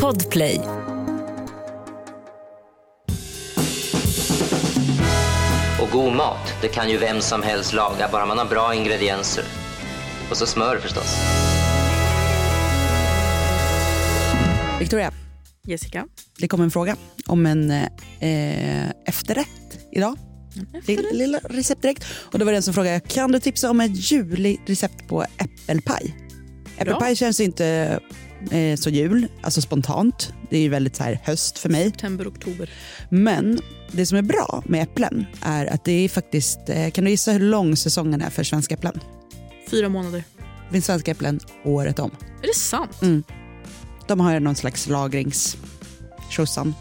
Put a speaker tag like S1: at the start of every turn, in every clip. S1: Podplay.
S2: Och god mat, det kan ju vem som helst laga, bara man har bra ingredienser. Och så smör förstås.
S3: Victoria,
S4: Jessica.
S3: det kom en fråga om en eh, efterrätt idag. Din lilla recept direkt. Och det var det en som frågade, kan du tipsa om ett ljuvligt recept på äppelpaj? Äppelpaj känns inte eh, så jul, alltså spontant. Det är ju väldigt så här höst för mig.
S4: September, oktober.
S3: Men det som är bra med äpplen är att det är faktiskt, eh, kan du gissa hur lång säsongen är för svenska äpplen?
S4: Fyra månader.
S3: Det finns svenska äpplen året om.
S4: Är det sant?
S3: De har någon slags lagrings... Tjosan.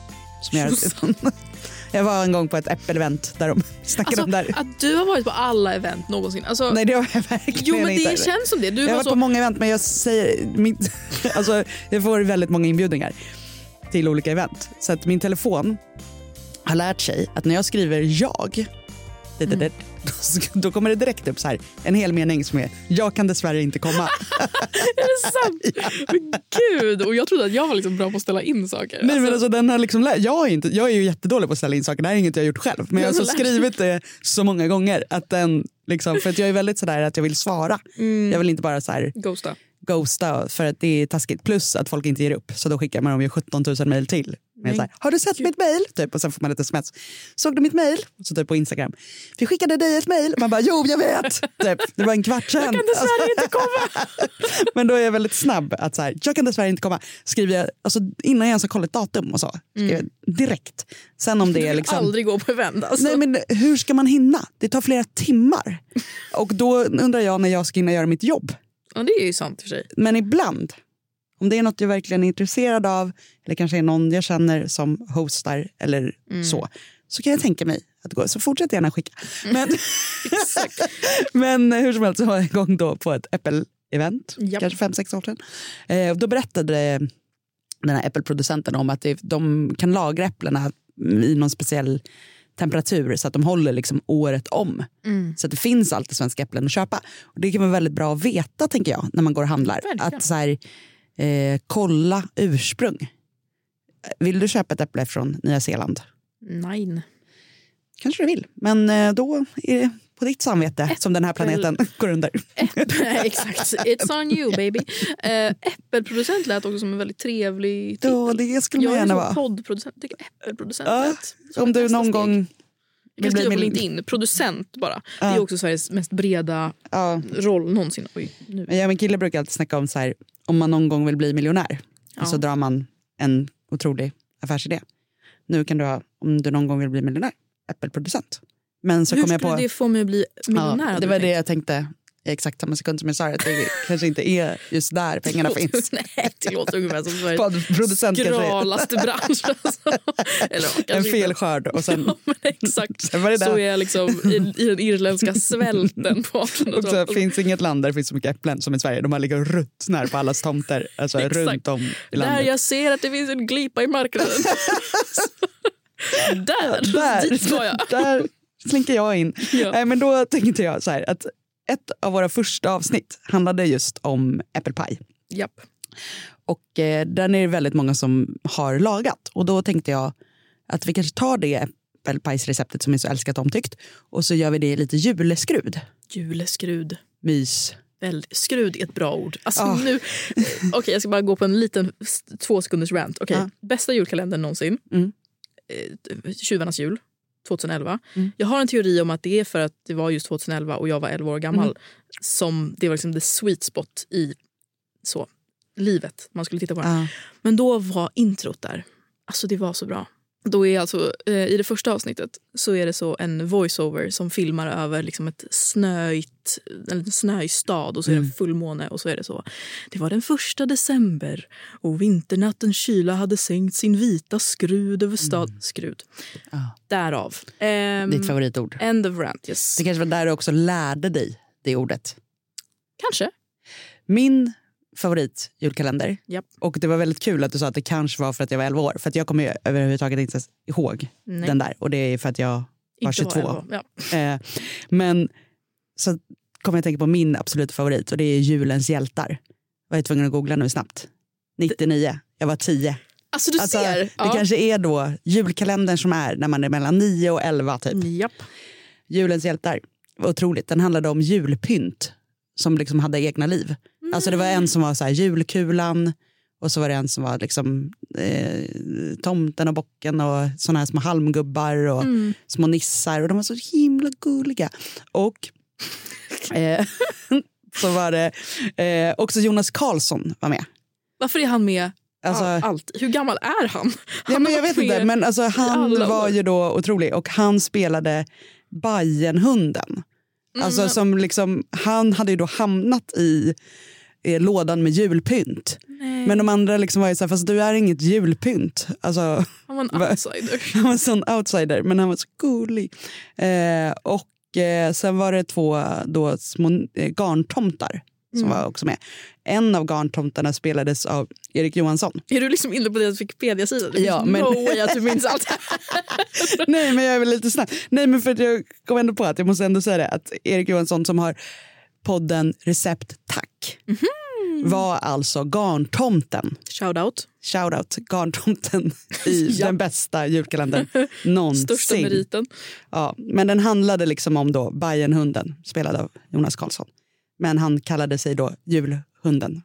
S3: Som gör
S4: Tjosan.
S3: att, jag var en gång på ett äppelevent där de snackade
S4: Alltså,
S3: om det här.
S4: att du har varit på alla event någonsin. Alltså,
S3: Nej det har jag verkligen
S4: jo men det
S3: inte.
S4: känns som det. Du
S3: jag har
S4: var
S3: varit
S4: så,
S3: på många event men jag säger... Min, alltså, jag får väldigt många inbjudningar till olika event. Så att min telefon har lärt sig att när jag skriver jag, det,
S4: Mm.
S3: det, det, då, sk- då kommer det direkt upp så här, en hel mening som är jag kan dessvärre inte komma.
S4: är det sant? Men gud, och jag trodde att jag var liksom bra på att ställa in saker.
S3: Nej, men alltså, den har liksom, lä- jag, är inte, jag är ju jättedålig på att ställa in saker, det här är inget jag har gjort själv. Men jag har
S4: Den har
S3: så
S4: lärt sig.
S3: skrivit det så många gånger. Att den, liksom, för att jag är väldigt sådär att jag vill svara.
S4: Mm.
S3: Jag vill inte bara så här,
S4: Ghosta.
S3: ghosta för att det är taskigt. Plus att folk inte ger upp. Så då skickar man dem ju 17 000 mejl till. Med så här, har du sett mitt mejl? Typ, och sen får man ett sms. Såg du mitt mejl? Och Så typ på Instagram. Vi skickade dig ett mejl. Man bara jo jag vet. Typ, det var en kvart Alltså- sen.
S4: Jag kan dessvärre inte komma.
S3: Men då är jag väldigt snabb att så här, jag kan dessvärre inte komma. Skriver jag, alltså, innan jag ens har kollat datum och så. Skriver jag direkt. Sen om det är liksom...
S4: Mm. Aldrig gå på event alltså.
S3: Nej, men hur ska man hinna? Det tar flera timmar. Och då undrar jag när jag ska hinna göra mitt jobb.
S4: Ja, det är ju sant i och för sig.
S3: Men ibland, om det är något jag verkligen är intresserad av eller kanske är någon jag känner som hostar eller så, så kan jag tänka mig att gå. Så fortsätt gärna skicka. Men, men eh, hur som helst så var jag en gång då på ett Apple-event,
S4: Japp.
S3: kanske fem, sex år sedan. Eh, och då berättade den här Apple-producenten om att det, de kan lagra äpplena i någon speciell temperatur så att de håller liksom året om.
S4: Mm.
S3: Så att det finns alltid svenska äpplen att köpa. Och det kan vara väldigt bra att veta tänker jag när man går och handlar.
S4: Verkligen.
S3: Att så här, eh, kolla ursprung. Vill du köpa ett äpple från Nya Zeeland?
S4: Nej.
S3: Kanske du vill, men eh, då är det på ditt samvete som den här planeten går under.
S4: Nej, exakt. It's on you baby. Äh, äppelproducent lät också som en väldigt trevlig titel.
S3: Då, det skulle man
S4: jag är
S3: gärna
S4: så
S3: vara.
S4: poddproducent. Jag tycker äppelproducent
S3: Ja,
S4: lät som
S3: Om
S4: ett
S3: du
S4: nästa
S3: någon
S4: steg.
S3: gång
S4: Jag kan
S3: vill
S4: skriva
S3: bli
S4: på
S3: mil-
S4: LinkedIn. Producent bara. Det är också Sveriges mest breda
S3: ja,
S4: roll någonsin. Oj, nu.
S3: Men Jag och min kille brukar alltid snacka om så här, om man någon gång vill bli miljonär
S4: Ja.
S3: och så drar man en otrolig affärsidé. Nu kan du ha, om du någon gång vill bli miljonär, äppelproducent. Men så
S4: Hur
S3: kom
S4: skulle
S3: jag på,
S4: det få mig att bli miljonär?
S3: ja,
S4: hade
S3: det
S4: du
S3: var det
S4: tänkt?
S3: jag tänkte i exakt samma sekund som jag sa det, att det kanske inte är just där pengarna finns.
S4: Nej, det låter ungefär som Sveriges
S3: Poddproducent kanske är
S4: skralaste bransch. Alltså. Eller, ja, kanske
S3: en
S4: inte.
S3: felskörd och sen
S4: Ja, men exakt.
S3: Sen var det
S4: Så
S3: där.
S4: är jag liksom i, i den irländska svälten på
S3: Och så
S4: 1800-talet.
S3: finns inget land där det finns så mycket äpplen som i Sverige. De har legat och ruttnar på allas tomter, alltså
S4: Exakt.
S3: runt om i
S4: Där
S3: landet.
S4: jag ser att det finns en glipa i marknaden. där, dit ska jag.
S3: där slinker jag in.
S4: Ja.
S3: Nej, Eh, men då tänkte jag så här att ett av våra första avsnitt handlade just om äppelpaj.
S4: Japp.
S3: Och eh, den är det väldigt många som har lagat. Och då tänkte jag att vi kanske tar det äppelpajsreceptet som är så älskat och omtyckt och så gör vi det i lite juleskrud.
S4: Juleskrud.
S3: Mys.
S4: Väl, skrud är ett bra ord. Alltså
S3: Ah.
S4: nu, Okej, jag ska bara gå på en liten s- två sekunders rant. Okej,
S3: Ja.
S4: Bästa julkalendern någonsin.
S3: Ah. Mm.
S4: Eh, Tjuvarnas jul. 2011.
S3: Mm.
S4: Jag har en teori om att det är för att det var just 2011 och jag var 11 år gammal
S3: Mm.
S4: som det var liksom the sweet spot i så, livet. Man skulle titta på den.
S3: Ja.
S4: Men då var introt där. Alltså det var så bra. Då är alltså, eh, I det första avsnittet så är det så en voiceover som filmar över liksom ett snöigt, en liten snöig stad och så är
S3: Mm.
S4: det en fullmåne och så är det så. Det var den första december och vinternatten kyla hade sänkt sin vita skrud över stad. Skrud.
S3: Mm. Ja.
S4: Därav. Ehm,
S3: Ditt favoritord.
S4: end of rant, yes.
S3: Det kanske var där du också lärde dig det ordet.
S4: Kanske.
S3: Min favorit julkalender.
S4: Japp.
S3: Och det var väldigt kul att du sa att det kanske var för att jag var 11 år. För att jag kommer ju överhuvudtaget inte ens ihåg
S4: Nej,
S3: den där. Och det är för att jag var
S4: inte
S3: 22.
S4: var elva. ja.
S3: Eh, men så kommer jag tänka på min absoluta favorit och det är Julens hjältar. Var jag tvungen att googla nu snabbt. 99. Jag var 10.
S4: Alltså du
S3: Alltså,
S4: ser.
S3: det kanske är då julkalendern som är när man är mellan 9 och 11. Typ.
S4: Japp.
S3: Julens hjältar. Vad Otroligt. Den handlade om julpynt som liksom hade egna liv. Alltså Det var
S4: Mm.
S3: en som var så här, julkulan och så var det en som var liksom, eh, tomten och bocken och såna här små halmgubbar och
S4: Mm.
S3: små nissar. Och De var så himla gulliga. Och eh, så var det eh, också Jonas Karlsson var med.
S4: Varför är han med
S3: Alltså,
S4: all, alltid? Hur gammal är han?
S3: Ja,
S4: Han
S3: men jag
S4: har
S3: vet
S4: varit
S3: inte,
S4: med
S3: men alltså, han
S4: alla
S3: var
S4: år.
S3: ju då otrolig och han spelade Bajenhunden.
S4: Mm,
S3: Alltså, som liksom, han hade ju då hamnat i eh, lådan med julpynt.
S4: Nej,
S3: Men de andra liksom var ju så här, fast du är inget julpynt. Alltså,
S4: han var en
S3: Va?
S4: outsider.
S3: han var en sån outsider, men han var så gullig. Eh, och eh, sen var det två då, små eh, garntomtar som
S4: Mm.
S3: var också med. En av garntomtarna spelades av Erik Johansson.
S4: Är du liksom inne på deras Wikipedia-sida? Det
S3: Ja,
S4: finns
S3: men-
S4: no way att du minns allt.
S3: Nej, men jag är väl lite snabb. Nej, men för att jag kom ändå på att jag måste ändå säga det att Erik Johansson som har podden Recept Tack
S4: Mhm.
S3: var alltså garntomten.
S4: Shout out.
S3: Shoutout garntomten i
S4: Ja.
S3: den bästa julkalendern någonsin.
S4: Största meriten.
S3: Ja, men den handlade liksom om då Bajenhunden spelad av Jonas Karlsson. Men han kallade sig då Julhunden.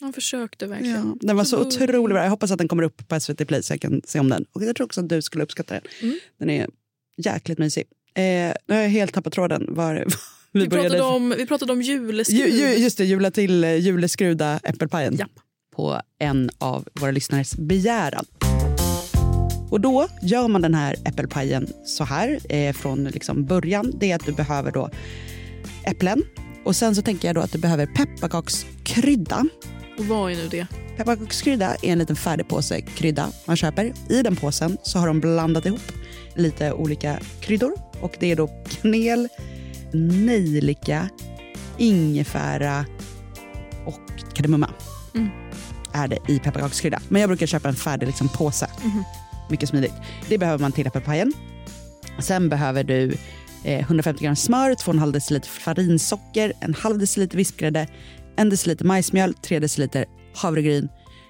S4: Han försökte verkligen.
S3: Ja, den var så
S4: Så
S3: otroligt bra. Jag hoppas att den kommer upp på SVT Play så jag kan se om den. Och jag tror också att du skulle uppskatta den.
S4: Mm.
S3: Den är jäkligt mysig. Eh, nu har jag helt tappat tråden. Var, vi,
S4: Vi, pratade om, vi pratade om juleskriv.
S3: ju, ju, just det, jula till eh, juleskruda äppelpajen.
S4: Japp.
S3: På en av våra lyssnares begäran. Och då gör man den här äppelpajen så här eh, från liksom början. Det är att du behöver då äpplen. Och sen så tänker jag då att du behöver pepparkakskrydda.
S4: Och vad är nu det?
S3: Pepparkakskrydda är en liten färdig påse krydda man köper. I den påsen så har de blandat ihop lite olika kryddor. Och Det är då kanel, nejlika, ingefära och kardemumma.
S4: Mm.
S3: Är det i pepparkakskrydda. Men jag brukar köpa en färdig liksom, påse.
S4: Mhm.
S3: Mycket smidigt. Det behöver man till äppelpajen. Sen behöver du eh, 150 gram smör, 2,5 deciliter farinsocker, en halv deciliter vispgrädde, en deciliter majsmjöl, 3 deciliter havregryn,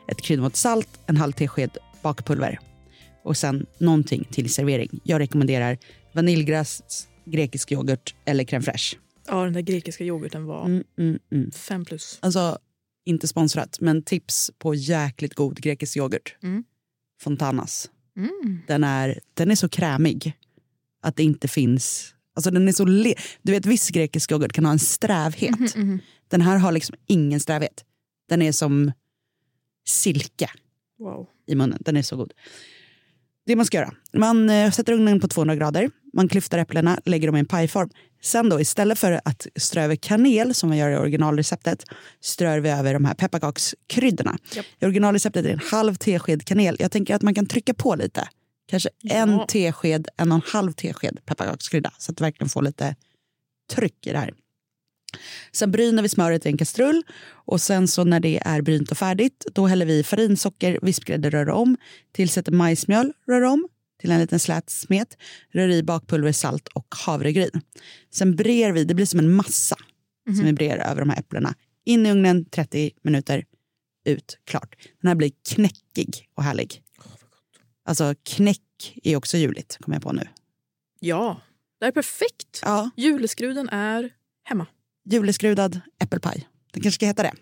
S3: ett kryddmått salt, en halv tesked bakpulver och sen någonting till servering. Jag rekommenderar vaniljgräs, grekisk yoghurt eller crème fraîche.
S4: Ja, den där grekiska yoghurten var
S3: Mm, mm, mm.
S4: fem plus.
S3: Alltså, inte sponsrat, men tips på jäkligt god grekisk yoghurt.
S4: Mm.
S3: Fontanas.
S4: Mm.
S3: Den är, den är så krämig att det inte finns... Alltså den är så le- du vet, viss grekisk yoghurt kan ha en strävhet.
S4: mhm.
S3: Den här har liksom ingen strävhet. Den är som silke
S4: Wow.
S3: i munnen. Den är så god. Det man ska göra. Man eh, sätter ugnen på 200 grader. Man klyftar äpplena, lägger dem i en pajform. Sen då, istället för att strö över kanel som man gör i originalreceptet, strör vi över de här pepparkakskryddorna.
S4: Japp.
S3: I originalreceptet är det en halv tesked kanel. Jag tänker att man kan trycka på lite. Kanske en
S4: Ja.
S3: tesked, en och en halv tesked pepparkakskrydda så att det verkligen får lite tryck i det här. Sen bryner vi smöret i en kastrull och sen så när det är brynt och färdigt då häller vi i farin, socker, vispgrädde, rör om, tillsätter majsmjöl, rör om till en liten slät smet, rör i bakpulver, salt och havregryn. Sen brer vi, det blir som en massa som
S4: Mhm.
S3: vi brer över de här äpplena. In i ugnen 30 minuter, ut, klart. Den här blir knäckig och härlig. Alltså knäck är också juligt, kommer jag på nu.
S4: Ja, det här är perfekt.
S3: Ja,
S4: Juleskruden är hemma.
S3: juleskrudad äppelpaj. Den kanske ska heta det.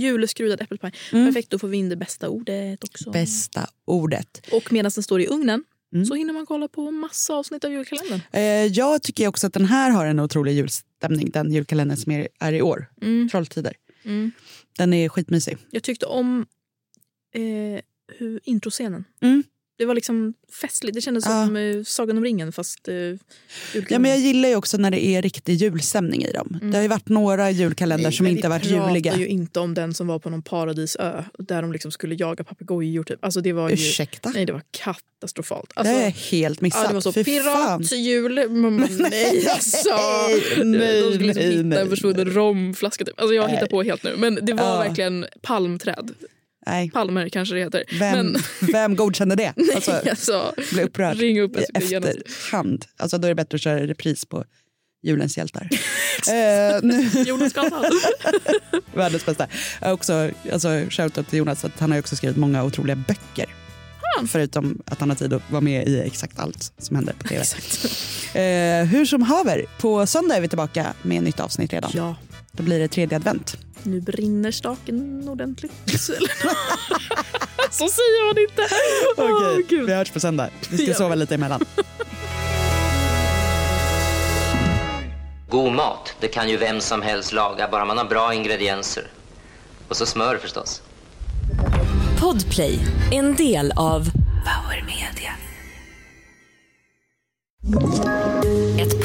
S4: Juleskrudad äppelpaj.
S3: Mm.
S4: Perfekt, då får vi in det bästa ordet också.
S3: Bästa ordet.
S4: Och medan den står i ugnen
S3: Mm.
S4: så hinner man kolla på massa avsnitt av julkalendern.
S3: Eh, jag tycker också att den här har en otrolig julstämning, den julkalendern som är, är i år,
S4: Mm.
S3: Trolltider.
S4: Mm.
S3: Den är skitmysig.
S4: Jag tyckte om eh, hur, introscenen.
S3: Mm.
S4: Det var liksom festligt. Det kändes
S3: Ja.
S4: som eh, Sagan om ringen fast eh,
S3: Ja, men
S4: julkalendern.
S3: jag gillar ju också när det är riktig julstämning i dem. Det har ju varit några julkalendrar som
S4: Mm. men
S3: inte har varit juliga.
S4: Vi ju inte om den som var på någon paradisö där de liksom skulle jaga papegojor. Typ. Alltså det var ju...
S3: Ursäkta?
S4: Nej, det var katastrofalt.
S3: det
S4: Alltså,
S3: har jag helt missat.
S4: ja, det var så
S3: Fy fan.
S4: piratjul. Man bara, Nej, alltså.
S3: nej,
S4: de skulle liksom
S3: nej,
S4: hitta
S3: nej,
S4: en försvunnen romflaska. Typ. Alltså, jag hittar på helt nu. Men det var
S3: Ja.
S4: verkligen palmträd.
S3: Nej.
S4: Palmer kanske det heter.
S3: Vem,
S4: Men
S3: vem godkänner det? Alltså,
S4: alltså,
S3: bli upprörd
S4: ring upp SVT genast.
S3: efterhand. Alltså, då är det bättre att köra repris på julens hjältar. eh, nu,
S4: Jonas Karlsson.
S3: världens bästa. Jag har Också, alltså, shoutout till Jonas, att han har ju också skrivit många otroliga böcker.
S4: han?
S3: Förutom att han har tid att vara med i exakt allt som händer på tv.
S4: Exakt.
S3: Eh, hur som haver, på söndag är vi tillbaka med nytt avsnitt redan.
S4: Ja,
S3: Då blir det tredje advent.
S4: nu brinner staken ordentligt. Eller- Så säger man inte. Åh, gud.
S3: vi hörs på söndag. Vi ska
S4: Ja.
S3: sova lite emellan.
S2: God mat, det kan ju vem som helst laga, bara man har bra ingredienser. Och så smör förstås.
S1: Podplay, en del av Power Media. Ett